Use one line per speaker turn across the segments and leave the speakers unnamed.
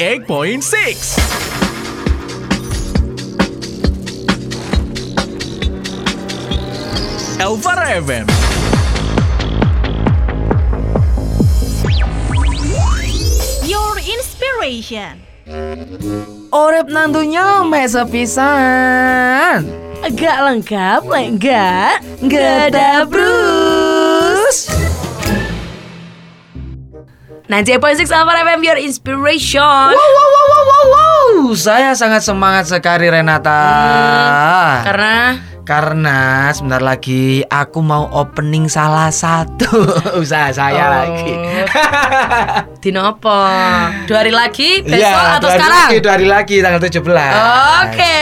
98.6 Elvara FM
Your inspiration.
Orep nantunya mesa pisan.
Agak lengkap, lek enggak?
Gada Bruce.
Nanti Point Six Alpha FM Your Inspiration.
Wow, wow, wow, wow, wow, wow. Saya sangat semangat sekali Renata.
Hmm. Karena
Karena sebentar lagi aku mau opening salah satu usaha saya
Oh.
lagi.
Dino apa? Dua hari lagi, besok
Iya,
atau
dua hari
sekarang?
Lagi, dua hari lagi tanggal 17.
Oke.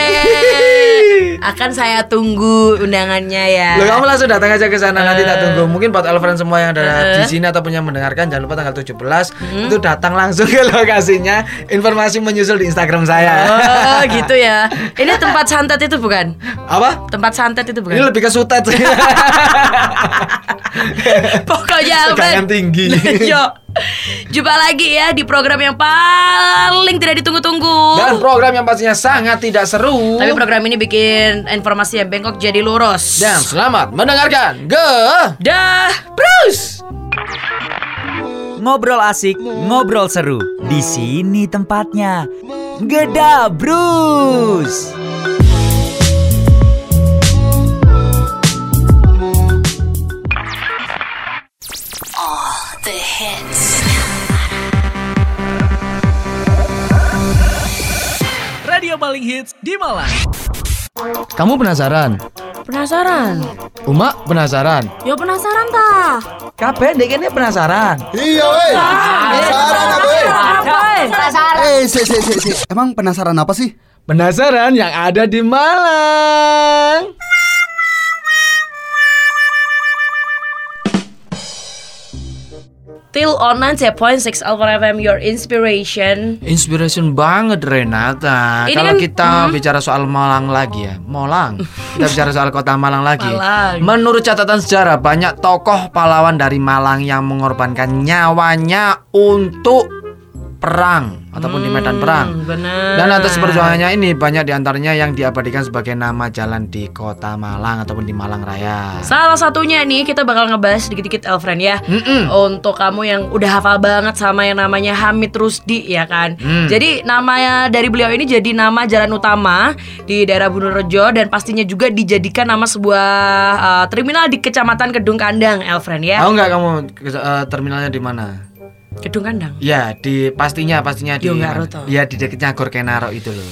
Akan saya tunggu undangannya ya.
Loh, kamu langsung datang aja ke sana nanti tak
Eh.
tunggu. Mungkin buat Elfriend semua yang ada di sini ataupun yang mendengarkan jangan lupa tanggal 17
Hmm.
itu datang langsung ke lokasinya. Informasi menyusul di Instagram saya.
Oh, gitu ya. Ini tempat santet itu bukan?
Apa?
Tempat santet itu
Ini
bukan?
lebih ke sutet.
Oh. Pokoknya
Tegangan
Alvin.
tinggi.
Yo. Jumpa lagi ya di program yang paling tidak ditunggu-tunggu.
Dan program yang pastinya sangat tidak seru.
Tapi program ini bikin informasi yang bengkok jadi lurus.
Dan selamat mendengarkan. Ge.
Dah.
Bruce.
Ngobrol asik, ngobrol seru. Di sini tempatnya. Geda Bruce.
Radio paling hits di Malang
Kamu penasaran?
Penasaran?
Uma penasaran?
Yo penasaran ta?
Kabeh ndek kene penasaran.
Iya weh. Penasaran apa weh? Eh, si, si, si, si. Emang penasaran apa sih?
Penasaran yang ada di Malang.
Till on 90.6 Alpha FM Your Inspiration.
Inspiration banget Renata.
Ini
Kalau
kan-
kita bicara soal Malang lagi ya, Malang. Kita bicara soal kota Malang lagi.
Malang.
Menurut catatan sejarah banyak tokoh pahlawan dari Malang yang mengorbankan nyawanya untuk perang ataupun di medan perang.
Hmm, Benar.
Hmm, Dan atas perjuangannya ini banyak diantaranya yang diabadikan sebagai nama jalan di kota Malang ataupun di Malang Raya.
Salah satunya nih kita bakal ngebahas sedikit-sedikit Elfriend ya.
Mm-mm.
Untuk kamu yang udah hafal banget sama yang namanya Hamid Rusdi ya kan.
Hmm.
Jadi namanya dari beliau ini jadi nama jalan utama di daerah Bunurejo dan pastinya juga dijadikan nama sebuah uh, terminal di Kecamatan Kedung Kandang Elfriend ya.
Tahu nggak kamu eh, terminalnya di mana?
Kedung Kandang.
Ya di pastinya pastinya di
Yogyakarta toh.
Ya di dekatnya Gor Kenaro itu loh.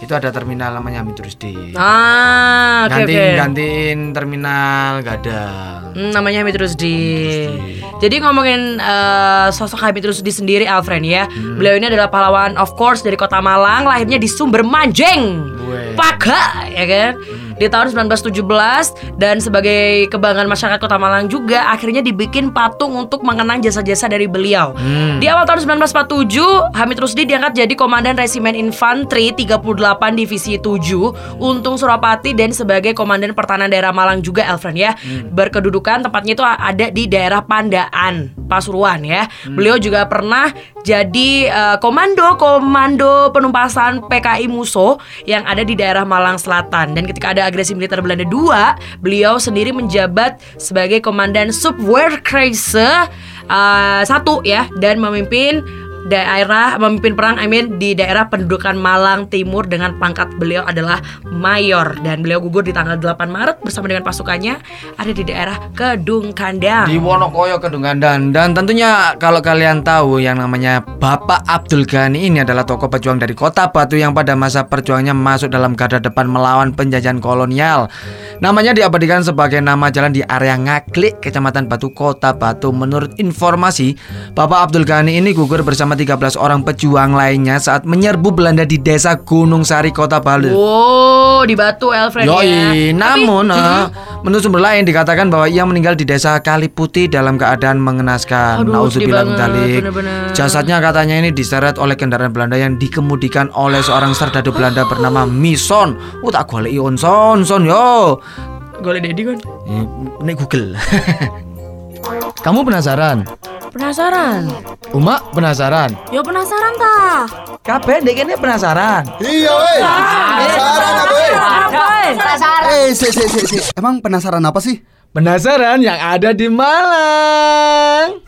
Itu ada terminal namanya Hamidrusdi.
Ah, oke
gantiin
oke.
gantiin terminal Gadang.
Hmm, namanya Hamid Rusdi. Jadi ngomongin eh, sosok Hamid Rusdi sendiri Alfred ya. Beliau ini adalah pahlawan of course dari Kota Malang, lahirnya di Sumber Manjeng.
Weh.
Paga ya kan. Di tahun 1917 dan sebagai kebanggaan masyarakat Kota Malang juga akhirnya dibikin patung untuk mengenang jasa-jasa dari beliau. Di awal tahun 1947, Hamid Rusdi diangkat jadi komandan resimen infanteri 38 divisi 7 Untung Surapati dan sebagai komandan pertahanan daerah Malang juga Elfren ya. Berkedudukan tempatnya itu ada di daerah Pandaan, Pasuruan ya. Beliau juga pernah jadi eh, komando komando penumpasan PKI Muso yang ada di daerah Malang Selatan dan ketika ada agresi militer Belanda II, beliau sendiri menjabat sebagai komandan Subwehrkreise eh, satu ya dan memimpin daerah memimpin perang I mean, di daerah pendudukan Malang Timur dengan pangkat beliau adalah mayor dan beliau gugur di tanggal 8 Maret bersama dengan pasukannya ada di daerah Kedung
Di
Kandang.
Wonokoyo Kedunggandan dan tentunya kalau kalian tahu yang namanya Bapak Abdul Ghani ini adalah tokoh pejuang dari Kota Batu yang pada masa perjuangannya masuk dalam garda depan melawan penjajahan kolonial. Namanya diabadikan sebagai nama jalan di area Ngaklik, Kecamatan Batu, Kota Batu. Menurut informasi, Bapak Abdul Ghani ini gugur bersama 13 orang pejuang lainnya saat menyerbu Belanda di desa Gunung Sari, Kota Bali.
Wow, di Batu Elfred ya.
Yoi, namun eh, menurut sumber lain dikatakan bahwa ia meninggal di desa Kaliputi dalam keadaan mengenaskan.
Aduh, sedih
Nauzubillah min
banget,
dzalik.
bener-bener.
Jasadnya katanya ini diseret oleh kendaraan Belanda yang dikemudikan oleh seorang serdadu Belanda bernama Mison. Uh tak goleki on son son yo. Eh,
Golek Dedi kan.
Ini Google. Kamu penasaran?
Penasaran?
Uma penasaran.
Ya penasaran ta?
Kabeh dek ini penasaran.
Iya weh. Penasaran apa weh?
Apa?
Eh, si, si, si, si. Emang penasaran apa sih?
Penasaran yang ada di Malang.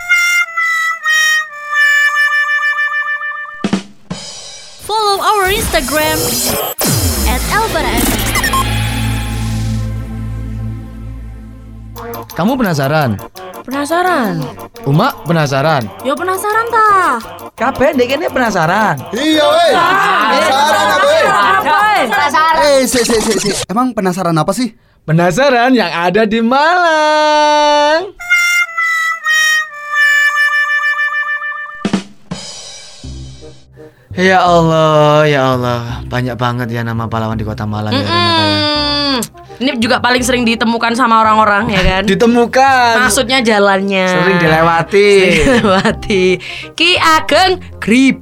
Follow our Instagram at
Kamu penasaran?
Penasaran?
Uma penasaran.
Ya penasaran ta?
Kabeh dek ini penasaran.
Iya weh. Penasaran apa weh? Eh, si, si, si, si. Emang penasaran apa sih?
Penasaran yang ada di Malang. Ya Allah, ya Allah, banyak banget ya nama pahlawan di kota Malang. ya, Renata, ya.
Hmm, ini juga paling sering ditemukan sama orang-orang ya kan?
Ditemukan,
Maksudnya jalannya.
sering dilewati.
Sering dilewati. Ki Ageng Gribe.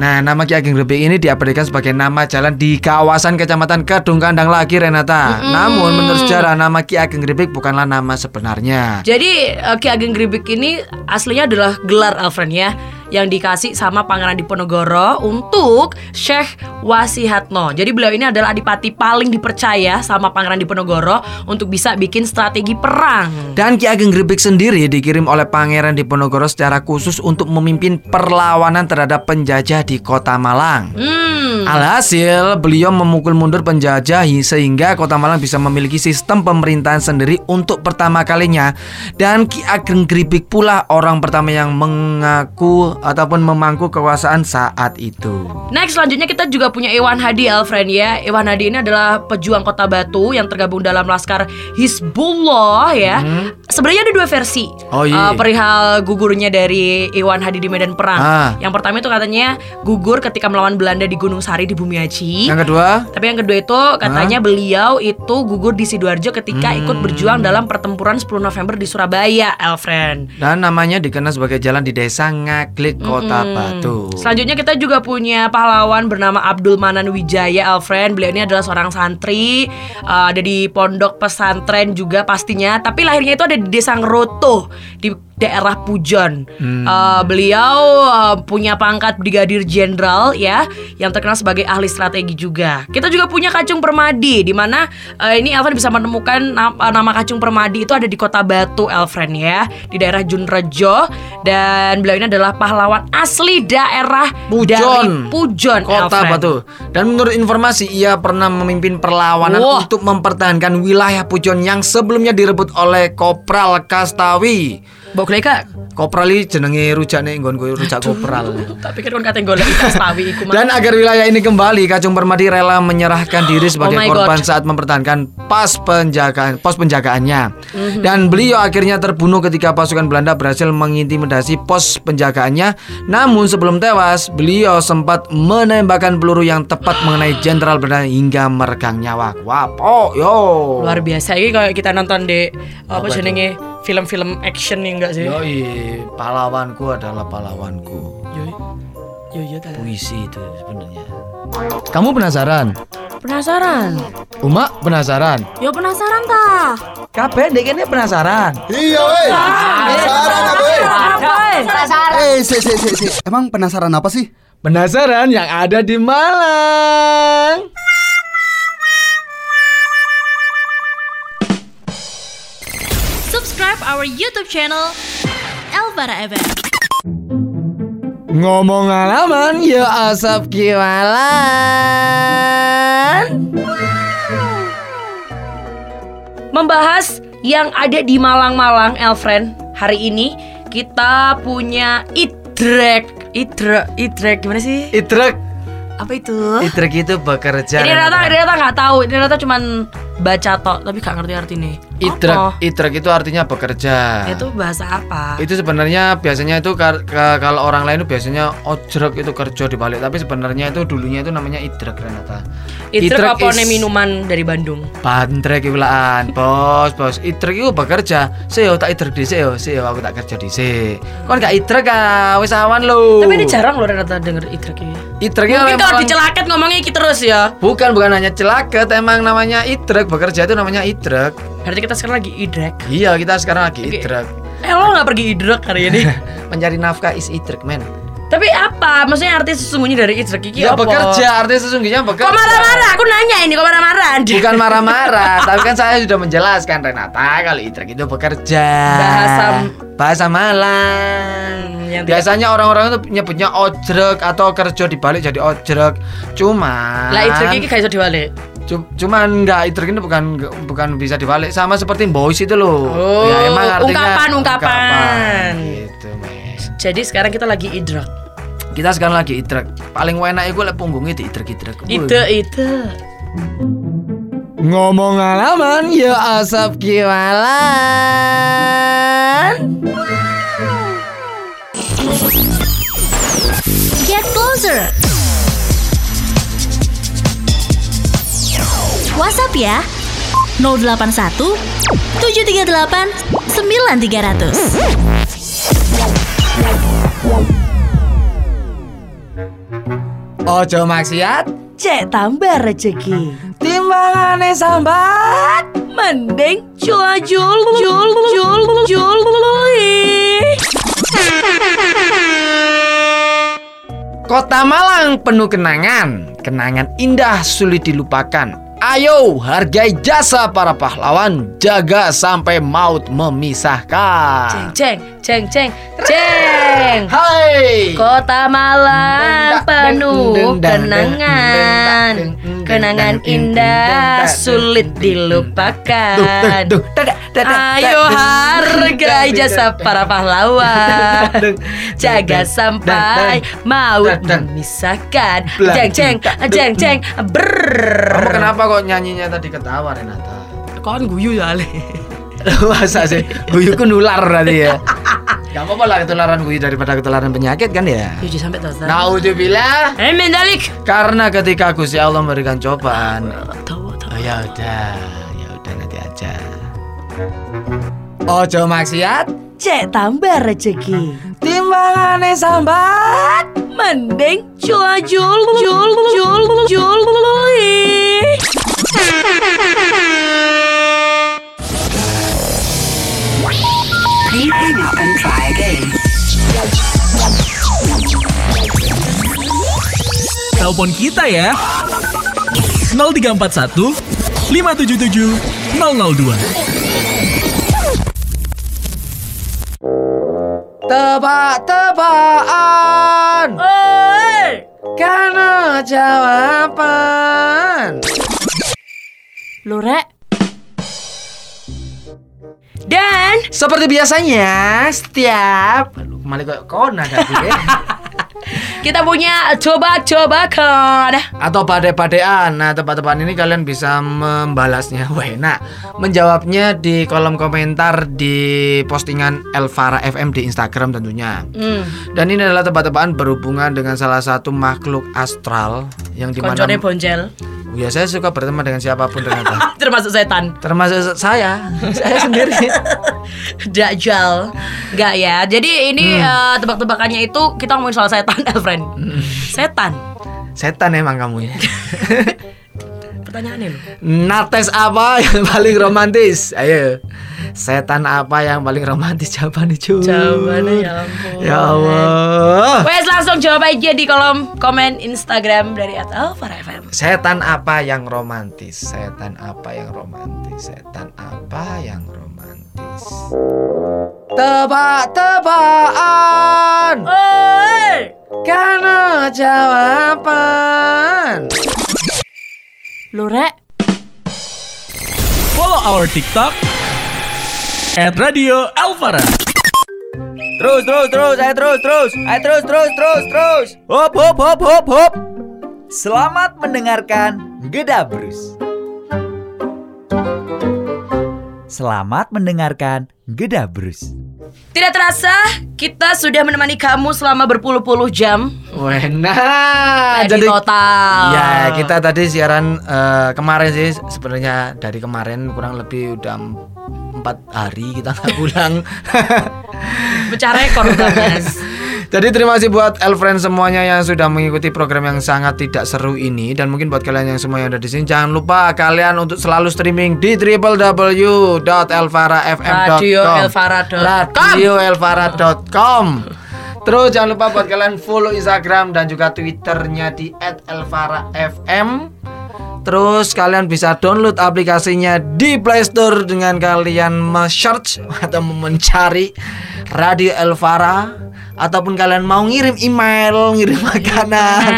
Nah, nama Ki Ageng Grebek ini diabadikan sebagai nama jalan di kawasan Kecamatan Kedung Kandang lagi Renata. Namun menurut sejarah nama Ki Ageng Grebek bukanlah nama sebenarnya.
Jadi eh, Ki Ageng Gribik ini aslinya adalah gelar Alfred ya yang dikasih sama Pangeran Diponegoro untuk Syekh Wasihatno. Jadi beliau ini adalah adipati paling dipercaya sama Pangeran Diponegoro untuk bisa bikin strategi perang.
Dan Ki Ageng Grebek sendiri dikirim oleh Pangeran Diponegoro secara khusus untuk memimpin perlawanan terhadap penjajah di kota Malang.
Hmm.
Alhasil, beliau memukul mundur penjajah sehingga Kota Malang bisa memiliki sistem pemerintahan sendiri untuk pertama kalinya. Dan Ki Ageng Gribik pula orang pertama yang mengaku ataupun memangku kekuasaan saat itu.
Next selanjutnya kita juga punya Iwan Hadi Alfred ya. Iwan Hadi ini adalah pejuang Kota Batu yang tergabung dalam laskar Hizbullah ya. Sebenarnya ada dua versi
Hmm. Oh, iya.
eh, perihal gugurnya dari Iwan Hadi di medan perang.
Ah.
Yang pertama itu katanya gugur ketika melawan Belanda di Gunung Sari di Bumi Aji.
Yang Ah. kedua,
Tapi yang kedua itu katanya beliau itu gugur di Sidoarjo ketika ikut
Hmm.
berjuang dalam pertempuran 10 November di Surabaya, Alfred.
dan namanya dikenal sebagai jalan di desa Ngaglik Kota Batu.
Hmm. Selanjutnya kita juga punya pahlawan bernama Abdul Manan Wijaya Alfred. Beliau ini adalah seorang santri uh, ada di pondok pesantren juga pastinya. Tapi lahirnya itu ada di Desa Ngeroto di daerah Pujon. Uh, beliau uh, punya pangkat brigadir jenderal ya yang terkenal sebagai ahli strategi juga. Kita juga punya Kacung Permadi di mana uh, ini Alfred bisa menemukan na- uh, nama Kacung Permadi itu ada di Kota Batu Alfred ya di daerah Junrejo dan beliau ini adalah pahlawan asli daerah
Pujon.
dari Pujon
Kota
Alfred.
Batu. Dan menurut informasi ia pernah memimpin perlawanan
Wah.
untuk mempertahankan wilayah Pujon yang sebelumnya direbut oleh Kopral Kastawi.
Boleh kak?
Kopral ini jenenge rujak nih nggon kowe rujak kopral.
Tak pikir kan kata golek Kastawi iku
Dan agar wilayah ini kembali, Kacung Permadi rela menyerahkan diri sebagai
Ah, oh my
korban
God.
saat mempertahankan pas penjagaan pos penjagaannya.
Mhm.
Dan beliau akhirnya terbunuh ketika pasukan Belanda berhasil mengintimidasi pos penjagaannya. Namun sebelum tewas, beliau sempat menembakkan peluru yang tepat mengenai jenderal Belanda hingga meregang nyawa. Wapo yo.
luar biasa ini kalau kita nonton di apa jenenge film-film action nih enggak sih?
Yoi, pahlawanku adalah pahlawanku. Puisi itu sebenarnya. Kamu penasaran?
Penasaran?
Uma penasaran?
Ya penasaran ta?
Kabeh dek ini penasaran.
Iya weh. Penasaran apa weh? Eh, si, si, si, si. Emang penasaran apa sih?
Penasaran yang ada di Malang.
Subscribe our YouTube channel Elvara FM.
Ngomong alaman, yo asap kiwalan.
membahas yang ada di Malang-Malang, Elfriend. Hari ini kita punya idrek, idrek, idrek gimana sih? Iya,
Itrek,
Apa itu?
itrek itu bekerja.
Ini
Renata.
rata, ini rata nggak tahu. Ini rata cuman baca tok, tapi gak ngerti arti nih.
Itrek, itrek itu artinya bekerja.
Itu bahasa apa?
Itu sebenarnya biasanya itu kar- ka- kalau orang lain itu biasanya ojrek itu kerja di balik, tapi sebenarnya itu dulunya itu namanya idrek Renata.
Idrek apa
is-
nih minuman dari Bandung?
Bantrek iki welaan, Bos, bos. Idrek iku bekerja. Sik yo tak idrek dhisik yo, sik yo aku tak kerja dhisik. Kon gak idrek ah, wis awan lho.
Tapi ini jarang loh Renata denger idrek ini.
idreknya
Mungkin
oleh
kalau
Malang-
dicelaket ngomongnya kita terus ya.
Bukan bukan hanya celaket, emang namanya idrek bekerja itu namanya idrek.
Berarti kita sekarang lagi idrek.
Iya, kita sekarang lagi
Oke.
idrek.
Eh lo gak pergi idrek hari ini
Mencari nafkah is idrek men
Tapi apa? Maksudnya artis sesungguhnya dari idrek Kiki
Ya
Iya, apa?
bekerja artinya sesungguhnya bekerja
Kok marah-marah? Aku nanya ini kok marah-marah
Bukan marah-marah, tapi kan saya sudah menjelaskan Renata kalau idrek itu bekerja.
Bahasa- Hmm,
bahasa Malang.
yang tidak-
Biasanya orang-orang itu nyebutnya ojrek atau kerja dibalik jadi ojrek. Cuman
Lah idrek Kiki gak bisa diwalik
cu- cuman enggak idrek itu bukan bukan bisa dibalik sama seperti boys itu loh.
Oh,
ya emang artinya
ungkapan, ungkapan.
Gitu, Mes.
Jadi sekarang kita lagi idrek
Kita sekarang lagi idrek. Paling enak itu lek punggungnya di idrek-idrek.
Ide, ide
Ngomong alaman ya asap kiwalan
Get closer. WhatsApp ya. 081 738 9300.
Ojo maksiat
Cek tambah rezeki
Timbangane sambat
Mending cula jul jul jul jul
Kota Malang penuh kenangan Kenangan indah sulit dilupakan Ayo hargai jasa para pahlawan Jaga sampai maut
Ceng
memisahkan
ceng ceng ceng
Hai
Kota Malang penuh kenangan Kenangan indah sulit dilupakan Ayo hargai jasa para pahlawan Jaga sampai maut memisahkan Jeng jeng jeng jeng
Kamu
Brrrr
kenapa kok nyanyinya tadi ketawa Renata?
Kan guyu ya Ale
Masa sih? Guyu ku nular berarti ya Gak apa-apa lah ketularan guyu daripada ketularan penyakit kan ya
Yuk sampai terus
Naudzubillah
Eh mendalik
Karena ketika Gusti Allah memberikan cobaan
Tahu tahu
Oh ya udah, ya udah nanti aja Ojo maksiat
Cek tambah rezeki
Timbangane sambat
Mending cula jul jul jul jul
Telepon kita ya 0341 577 002
Tebak-tebakan
Oi,
Karena jawaban
Lu rek Dan
Seperti biasanya setiap Aduh, Kembali ke kona tadi ya.
kita punya coba-coba kan
Atau pade-padean Nah tebak-tebakan ini kalian bisa membalasnya Wah enak Menjawabnya di kolom komentar Di postingan Elvara FM di Instagram tentunya
hmm.
Dan ini adalah tebak-tebakan berhubungan dengan salah satu makhluk astral Yang dimana
Koncone bonjel Ah,
Ya saya suka berteman dengan siapapun ternyata
Termasuk setan
Termasuk saya Saya sendiri
Dajjal Enggak ya Jadi ini
Hmm.
eh, tebak-tebakannya itu Kita ngomongin soal setan Elfriend Setan
Setan emang kamu ya
Pertanyaannya lu
Nates apa yang paling romantis? Ayo. Setan apa yang paling romantis? Jawabannya cuy.
Jawabannya ya ampun.
Ya Allah.
Wes langsung jawab aja di kolom komen Instagram dari @alfarafm.
Setan apa yang romantis? Setan apa yang romantis? Setan apa yang romantis? Tebak-tebakan
Oi,
karena jawaban.
lu rek
Follow our TikTok At Radio Alvara
Terus, terus, terus, ayo terus, terus, ayo terus, terus, terus, terus. Hop, hop, hop, hop, hop. Selamat mendengarkan Gedabrus. Selamat mendengarkan Gedabrus.
Tidak terasa kita sudah menemani kamu selama berpuluh-puluh jam.
Wena.
Nah, di total.
Ya kita tadi siaran eh, kemarin sih sebenarnya dari kemarin kurang lebih udah em- empat hari kita nggak pulang.
pecah rekor kita, Mas.
Jadi terima kasih buat Elfriend semuanya yang sudah mengikuti program yang sangat tidak seru ini dan mungkin buat kalian yang semua yang ada di sini jangan lupa kalian untuk selalu streaming di www.elvarafm.com.
Radioelvara.com.
radioelvara.com. Terus jangan lupa buat kalian follow Instagram dan juga Twitternya di @elvarafm. Terus kalian bisa download aplikasinya di Play Store dengan kalian me-search atau mencari Radio Elvara ataupun kalian mau ngirim email, ngirim makanan.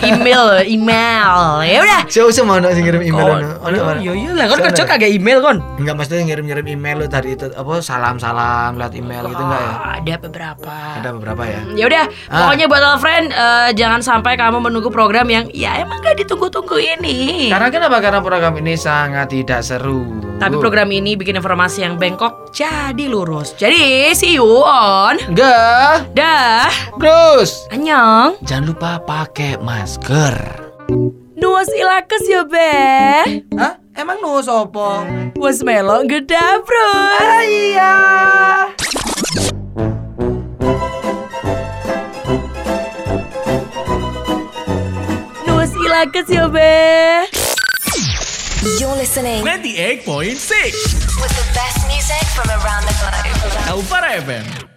Email, email, email. Ya udah.
Jauh sih mau nggak sih ngirim email. Ono? Ono, ono?
Yo yo lah, kan kerja kagak email kon.
Enggak maksudnya ngirim-ngirim email lu dari itu apa salam-salam lewat email gitu enggak ya?
Ah, Ada beberapa.
Ada beberapa ya.
Ya udah, pokoknya buat all friend eh, jangan sampai kamu menunggu program yang ya emang gak ditunggu-tunggu ini.
Karena kenapa? Karena program ini sangat tidak seru.
Tapi program ini bikin informasi yang bengkok jadi lurus. Jadi see you on.
enggak.
Dah.
Terus
Annyeong.
jangan lupa pakai masker.
Nuas ilakes ya be.
Hah? Emang nu sopo?
Was melok gedabros. Nuas ilakes ya be.
You're listening
98.6
with the best music from around the globe.
Elvara FM